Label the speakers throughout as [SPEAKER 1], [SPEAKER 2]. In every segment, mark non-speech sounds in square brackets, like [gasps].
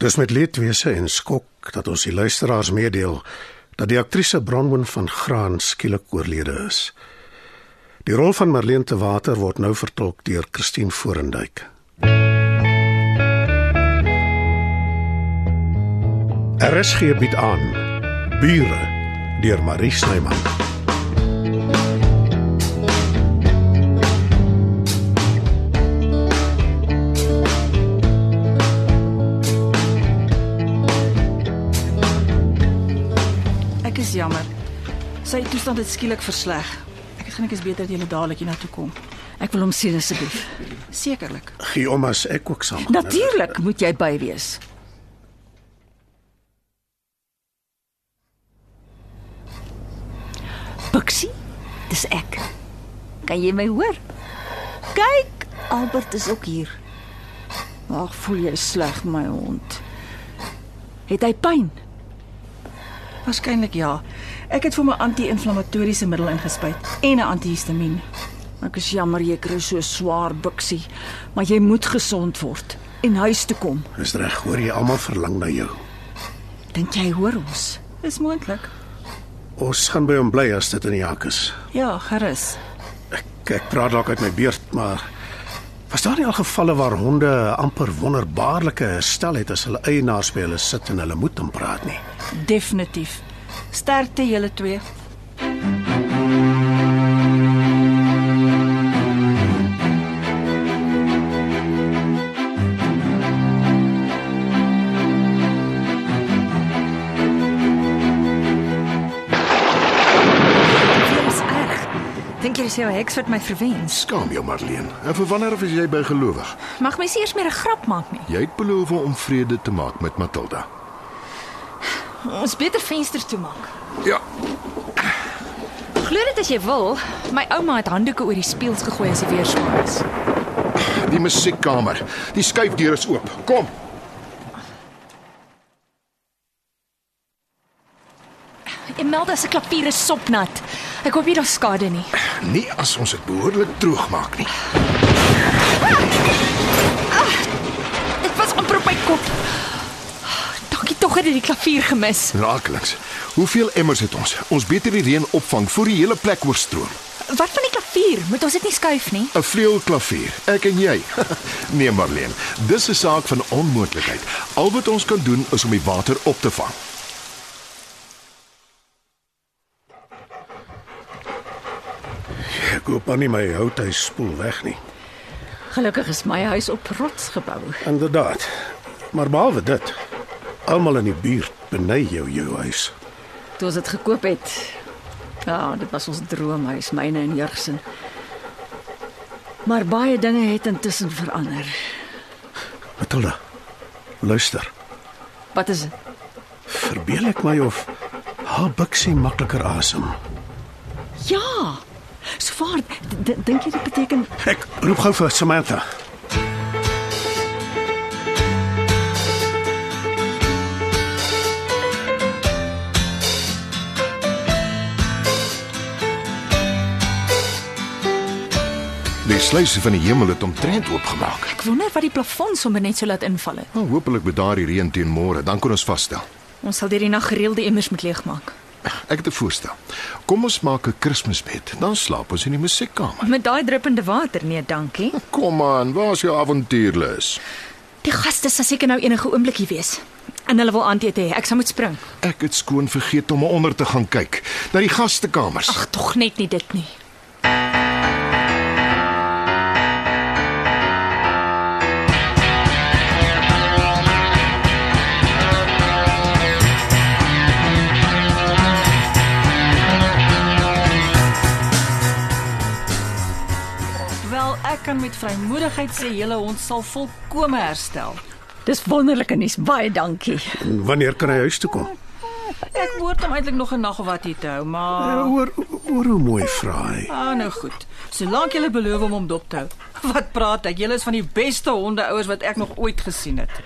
[SPEAKER 1] Dis met leedwese en skok dat ons die luisteraars meedeel dat die aktrise Bronwyn van Graan skielik oorlede is. Die rol van Marlene te Water word nou vertolk deur Christine Forendyk. RSG bied aan Bure deur Marie Snyman.
[SPEAKER 2] Ek is jammer. Sy toestand het skielik versleg. Ek het gedink dit is beter dat jy dadelik hiernatoe kom.
[SPEAKER 3] Ek wil hom sien asseblief.
[SPEAKER 2] Sekerlik.
[SPEAKER 1] Gie om as ek ook saam. gaan.
[SPEAKER 3] Natuurlik moet jy by wees. Buxie, dis ek. Kan jy my hoor? Kyk, Albert is ook hier. Ag, voel jy sleg my hond? Het hy pyn?
[SPEAKER 2] Waarskynlik ja. Ek het vir my anti-inflammatoriese middel ingespuit en 'n antihistamiën.
[SPEAKER 3] Ek is jammer jy kry so swaar Buxie, maar jy moet gesond word en huis toe kom.
[SPEAKER 1] Dis reg, hoor jy almal verlang na jou.
[SPEAKER 3] Dink jy hy hoor ons?
[SPEAKER 2] Dis moontlik.
[SPEAKER 1] Ons gaan by hom bly as dit in die hak is.
[SPEAKER 2] Ja, gerus.
[SPEAKER 1] Ek ek praat dalk uit my beurt, maar was daar nie al gevalle waar honde 'n amper wonderbaarlike herstel het as hulle eienaars by hulle sit en hulle moet hom praat nie?
[SPEAKER 2] Definitief. Sterkte julle twee.
[SPEAKER 4] Dis erg. Dink jy dis jou heks wat my verwens?
[SPEAKER 5] Skaam jou Marleen. En vir wanneer af is jy bygelowig?
[SPEAKER 4] Mag mens nie eers meer 'n grap maak nie.
[SPEAKER 5] Jy het beloof om vrede te maak met Matilda.
[SPEAKER 4] Ons beter venster toemaak.
[SPEAKER 5] Ja,
[SPEAKER 4] Glo dit as jy wil, my ouma het handdoeke oor die spieëls gegooi as die weer swaar is.
[SPEAKER 5] die musiekkamer. Die skuifdeur is oop. Kom.
[SPEAKER 4] Imelda se klavier is sopnat. Ek hoop nie daar skade nie.
[SPEAKER 5] Nie as ons dit behoorlik droog maak nie.
[SPEAKER 4] Dit was amper op my kop. Dankie tog dat jy die klavier gemis.
[SPEAKER 5] Raakliks. Hoeveel emmers het ons? Ons beter die reën opvang voor die hele plek oorstroom.
[SPEAKER 4] Wat van die klavier? Moet ons dit nie skuif nie?
[SPEAKER 5] 'n Vleuelklavier. Ek en jy. [laughs] nee Marleen, dis 'n saak van onmoontlikheid. Al wat ons kan doen is om die water op te vang.
[SPEAKER 1] Ek koop aan nie my houthuis spoel weg nie.
[SPEAKER 3] Gelukkig is my huis op rots gebou.
[SPEAKER 1] Inderdaad. Maar behalwe dit, almal in die buurt beny jou jou huis.
[SPEAKER 3] Toe ons dit gekoop het. Ja, dit was ons droomhuis, myne en Jurgsen. Maar baie dinge het intussen verander.
[SPEAKER 1] Matilda, luister.
[SPEAKER 3] Wat is dit?
[SPEAKER 1] Verbeel ek my of haar buksie makliker asem?
[SPEAKER 3] Ja. Swaar, d- d- dink jy dit beteken
[SPEAKER 1] Ek roep gou vir Samantha.
[SPEAKER 5] Die sluise van die hemel het omtrent oopgemaak.
[SPEAKER 4] Ek wonder wat die plafon sommer net so laat inval het.
[SPEAKER 5] Nou hopelik met daardie reën teen môre, dan kan ons vasstel.
[SPEAKER 4] Ons sal deur die nag gereelde emmers moet leegmaak.
[SPEAKER 5] Ek het 'n voorstel. Kom ons maak 'n Kersfeesbed, dan slaap ons in die musiekkamer.
[SPEAKER 4] Met daai druppende water, nee, dankie.
[SPEAKER 5] Kom aan, waar's jou avontuurlus?
[SPEAKER 4] Die gaste sal seker nou enige oomblik hier wees. En hulle wil aandete hê. Ek sal moet spring.
[SPEAKER 5] Ek het skoon vergeet om onder te gaan kyk na die gastekamers.
[SPEAKER 4] Ag, tog net nie dit nie.
[SPEAKER 2] Wel, ek kan met vrymoedigheid sê julle ons sal volkome herstel.
[SPEAKER 3] Dis wonderlike nuus. Baie dankie.
[SPEAKER 1] En wanneer kan hy huis toe kom?
[SPEAKER 2] Ek behoort hom eintlik nog 'n nag of wat hier te hou, maar
[SPEAKER 1] Oor oor Eh, hoe mooi vra hy.
[SPEAKER 2] Ah, nou goed. Solank julle beloof om hom dop te hou. [laughs] Wat praat ek? Julle is van die beste hondeouers wat ek nog ooit gesien het.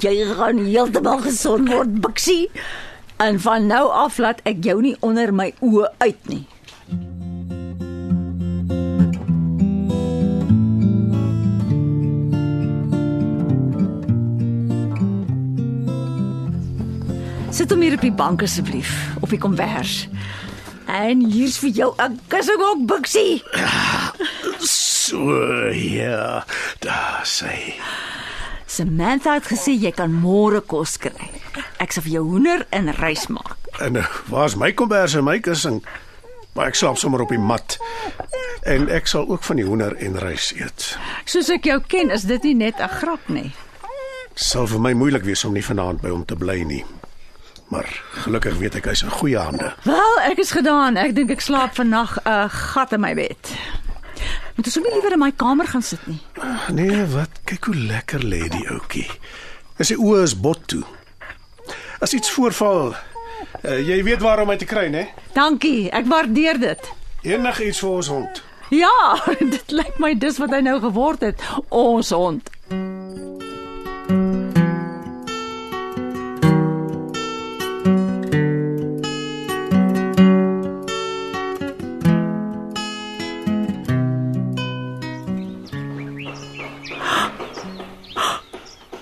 [SPEAKER 3] Jy gaan heeltemal gesond word, Bixie. En van nou af laat ek jou nie onder my oë uit nie. Sit hom hier op die bank asseblief, op die kombers. En hier's vir jou 'n kussing ook, Bixie.
[SPEAKER 5] So ja, daar sê.
[SPEAKER 3] Samantha het gesê jy kan môre kos kry. Ek sal vir jou hoender en rys maak.
[SPEAKER 1] En eh, waar's my kombers en my kussing? Maar ek slaap sommer op die mat. En ek sal ook van die hoender en rys eet.
[SPEAKER 3] Soos ek jou ken, is dit nie net 'n grap nie.
[SPEAKER 1] Sal vir my moeilik wees om nie vanaand by hom te bly nie. Maar gelukkig weet ek hy's in goeie hande.
[SPEAKER 3] Wel, ek is gedaan. Ek dink ek slaap vannag 'n gat in my bed. Moet ons hom nie liewer in my kamer gaan sit nie.
[SPEAKER 1] Nee, wat? Kyk hoe lekker lê die ouetjie. En sy oë is bot toe. As iets voorval, uh, jy weet waar om my te kry, né?
[SPEAKER 3] Dankie, ek waardeer dit.
[SPEAKER 1] Enigiets vir ons hond.
[SPEAKER 3] [laughs] Ja, dit lyk my dis wat hy nou geword het, ons hond. [gasps]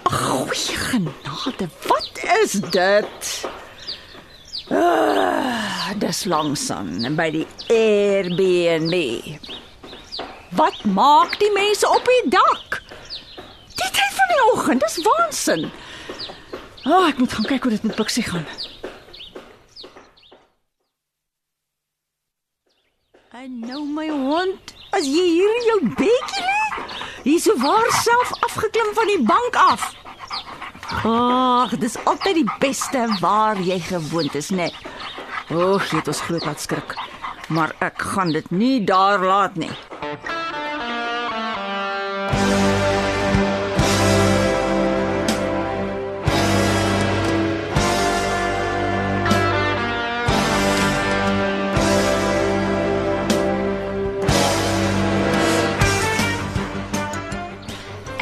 [SPEAKER 3] Goeie genade, wat is dit? Ah, dis langsaan by die Airbnb. Wat maak die mense op die dak? Die tyd van die oggend, dis waansin. O, oh, ek moet gaan kyk hoe dit met Bixie gaan. En nou my hond, as jy hier in jou bedjie lê, hier sou waar self afgeklim van die bank af. Ag, dis altyd die beste waar jy gewoond is, né? Nee. O, jy het ons groot laat skrik. Maar ek gaan dit nie daar laat nie.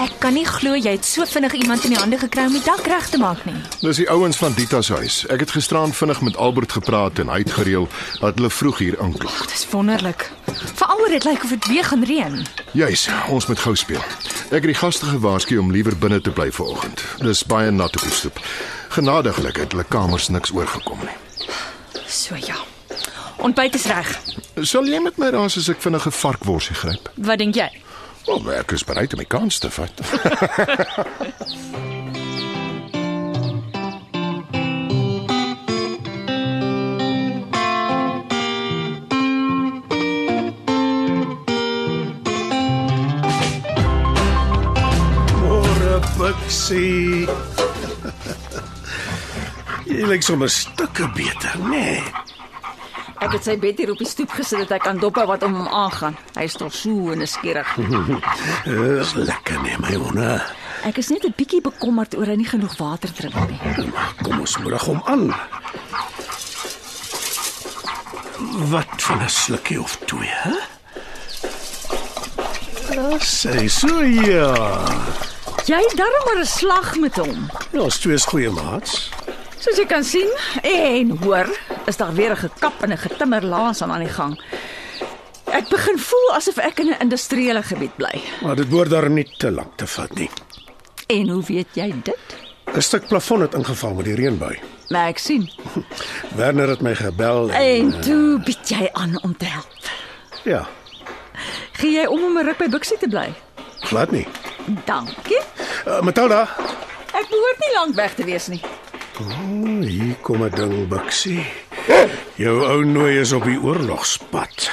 [SPEAKER 4] Ek kan nie glo jy het so vinnig iemand in die hande gekry om die dak reg te maak nie.
[SPEAKER 5] Dis die ouens van Dita se huis. Ek het gisteraan vinnig met Albert gepraat en hy het gereël dat hulle vroeg hier inkom.
[SPEAKER 4] Dit is wonderlik. Veral oor dit lyk of dit weer gaan reën.
[SPEAKER 5] Juis, ons moet gou speel. Ek het die gaste gewaarsku om liewer binne te bly vanoggend. Dis baie nat op die stoep. Genadiglik het hulle kamers niks oorgekom nie.
[SPEAKER 4] So ja. Ontbyt is reg.
[SPEAKER 5] Sal jy met my raas as ek vinnig 'n varkworsie gryp?
[SPEAKER 4] Wat dink jy?
[SPEAKER 5] Wel, oh, ek is bereid om my kans te vat.
[SPEAKER 1] Môre Bixie. jy lyk sommer stukke beter, né? Nee.
[SPEAKER 3] Ek het sy bed hier op die stoep gesit dat hy kan dophou wat om hom aangaan. Hy is tog so nuuskierig.
[SPEAKER 1] Dis lekker, nee, my honder.
[SPEAKER 3] Ek is net 'n bietjie bekommerd oor hy nie genoeg water drink nie.
[SPEAKER 1] Kom ons moedig hom aan. Wat van 'n slukkie of twee, hè? Sê so ja.
[SPEAKER 3] Jy het darm maar 'n slag met hom.
[SPEAKER 1] Ja, ons twee is goeie maats.
[SPEAKER 3] Soos jy kan sien en hoor, is daar weer 'n gekap en 'n getimmer laas aan aan die gang. Ek begin voel asof ek in 'n industriële gebied bly.
[SPEAKER 1] Maar dit behoort daarom nie te lank te vat nie.
[SPEAKER 3] En hoe weet jy dit?
[SPEAKER 1] 'n Stuk plafon het ingeval met die reënbui.
[SPEAKER 3] Maar ek sien.
[SPEAKER 1] Werner het my gebel en
[SPEAKER 3] En toe bied jy aan om te help.
[SPEAKER 1] ja,
[SPEAKER 3] Gee jy om om 'n ruk by Bixie te bly?
[SPEAKER 1] glad nie.
[SPEAKER 3] Dankie.
[SPEAKER 1] Uh, Matilda,
[SPEAKER 3] Ek behoort nie lank weg te wees nie.
[SPEAKER 1] oh, hier kom 'n ding biksie. Jou ou nooi is op die oorlogspad.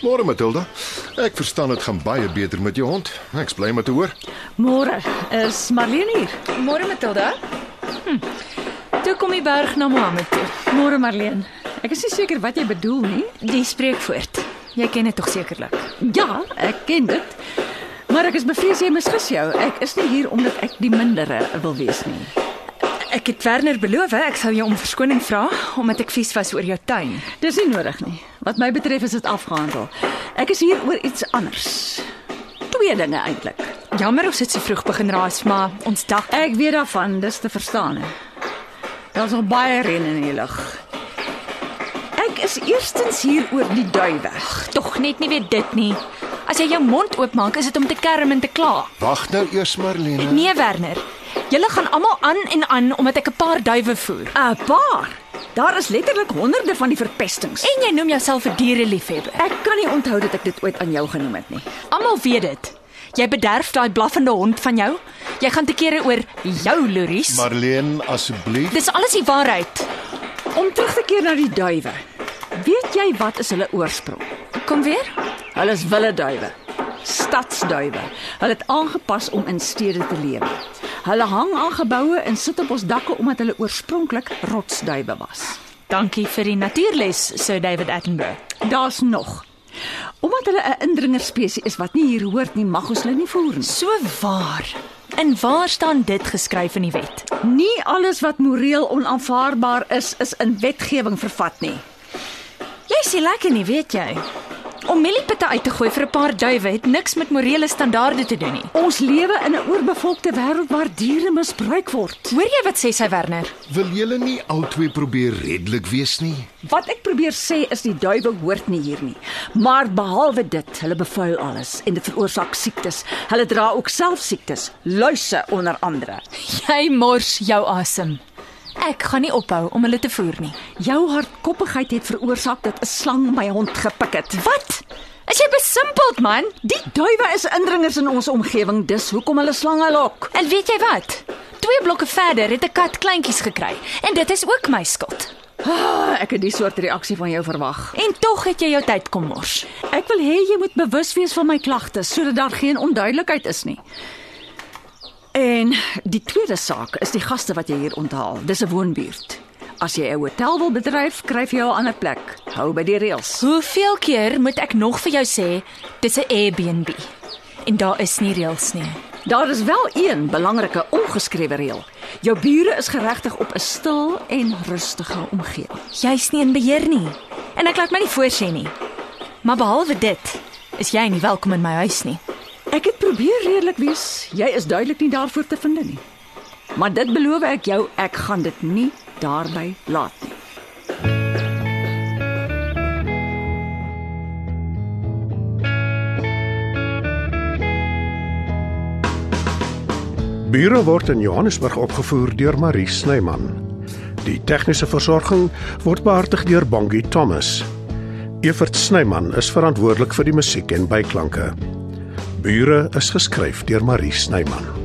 [SPEAKER 5] Môre Matilda. Ek verstaan dit gaan baie beter met jou hond. Ek's bly om te hoor.
[SPEAKER 3] Môre is Marlene hier.
[SPEAKER 4] Môre Matilda. Hm. Toe kom die berg na Mohammed toe.
[SPEAKER 3] Môre Marlene. Ek is nie seker wat jy bedoel nie.
[SPEAKER 4] Die spreekwoord. Jy ken dit tog sekerlik.
[SPEAKER 3] Ja, ek ken dit. Maar ek is bevrees jy misgis jou. Ek is nie hier omdat ek die mindere wil wees nie.
[SPEAKER 4] Ek het Werner beloof ek sou jou om verskoning vra omdat ek vies was oor jou tuin.
[SPEAKER 3] Dis nie nodig nie. Wat my betref is dit afgehandel. Ek is hier oor iets anders. Twee dinge eintlik.
[SPEAKER 4] Jammer ons het so vroeg begin raas, maar ons dag
[SPEAKER 3] Ek weet daarvan, dis te verstaan. hè. Daar's nog baie reën in die lug. Ek is eerstens hier oor die duwe.
[SPEAKER 4] tog net nie weer dit nie. As jy jou mond oopmaak, is dit om te kerm en te kla.
[SPEAKER 5] Wag nou eers Marlene.
[SPEAKER 4] Nee, Werner. Julle gaan almal aan en aan omdat ek 'n paar duwe voer.
[SPEAKER 3] 'n Paar. Daar is letterlik honderde van die verpestings.
[SPEAKER 4] En jy noem jouself 'n diereliefhebber.
[SPEAKER 3] Ek kan nie onthou dat ek dit ooit aan jou genoem het nie.
[SPEAKER 4] Almal weet dit. Jy bederf daai blaffende hond van jou. Jy gaan te kere oor jou lories.
[SPEAKER 5] Marlene asseblief.
[SPEAKER 4] Dis alles die waarheid.
[SPEAKER 3] Om terug te keer na die duwe. Weet jy wat is hulle oorsprong?
[SPEAKER 4] Kom weer.
[SPEAKER 3] Hulle is wilde duwe. Stadsduwe. Hulle het aangepas om in stede te lewe. Hulle hang aan geboue en sit op ons dakke omdat hulle oorspronklik rotsduwe was.
[SPEAKER 4] Dankie vir die natuurles, Sir David Attenborough.
[SPEAKER 3] Daar's nog. Omdat hulle 'n indringerspesie is wat nie hier hoort nie, mag ons hulle nie voer nie.
[SPEAKER 4] So waar. En waar staan dit geskryf in die wet?
[SPEAKER 3] Nie alles wat moreel onaanvaarbaar is, is in wetgewing vervat nie.
[SPEAKER 4] Jy sien lekker nie, weet jy. Om mieliepitte uit te gooi vir 'n paar duwe het niks met morele standaarde te doen nie.
[SPEAKER 3] Ons lewe in 'n oorbevolkte wêreld waar diere misbruik word.
[SPEAKER 4] Hoor jy wat sê sy Werner?
[SPEAKER 5] Wil julle nie al twee probeer redelik wees nie?
[SPEAKER 3] Wat ek probeer sê is die duiwel hoort nie hier nie. Maar behalwe dit, hulle bevuil alles en dit veroorsaak siektes. Hulle dra ook self siektes, luise onder andere.
[SPEAKER 4] Jy mors jou asem. Ek gaan nie ophou om hulle te voer nie.
[SPEAKER 3] Jou hardkoppigheid het veroorsaak dat 'n slang my hond gepik het.
[SPEAKER 4] Wat? Is jy besimpeld man?
[SPEAKER 3] Die duwe is indringers in ons omgewing, dis hoekom hulle slange lok.
[SPEAKER 4] En weet jy wat? Twee blokke verder het 'n kat kleintjies gekry en dit is ook my skuld.
[SPEAKER 3] Ah, ek het die soort reaksie van jou verwag.
[SPEAKER 4] En tog het jy jou tyd kom mors.
[SPEAKER 3] Ek wil hê jy moet bewus wees van my klagtes sodat daar geen onduidelikheid is nie. En die tweede saak is die gaste wat jy hier onthaal. Dis 'n woonbuurt. As jy 'n hotel wil bedryf, kry jy 'n ander plek. Hou by die reëls.
[SPEAKER 4] Hoeveel keer moet ek nog vir jou sê dis 'n Airbnb? En daar is nie reëls nie.
[SPEAKER 3] Daar is wel een belangrike ongeskrewe reël. Jou bure is geregtig op 'n stil en rustige omgewing.
[SPEAKER 4] Jy's nie in beheer nie. En ek laat my nie voorsê nie. Maar behalwe dit, is jy nie welkom in my huis nie.
[SPEAKER 3] Ek het probeer redelik wees. Jy is duidelik nie daarvoor te vind nie. Maar dit beloof ek jou, ek gaan dit nie daarby laat nie.
[SPEAKER 1] Bure word in Johannesburg opgevoer deur Marie Snyman. Die tegniese versorging word behartig deur Bongie Thomas. Evert Snyman is verantwoordelik vir die musiek en byklanke. Bure is geskryf deur Marie Snyman.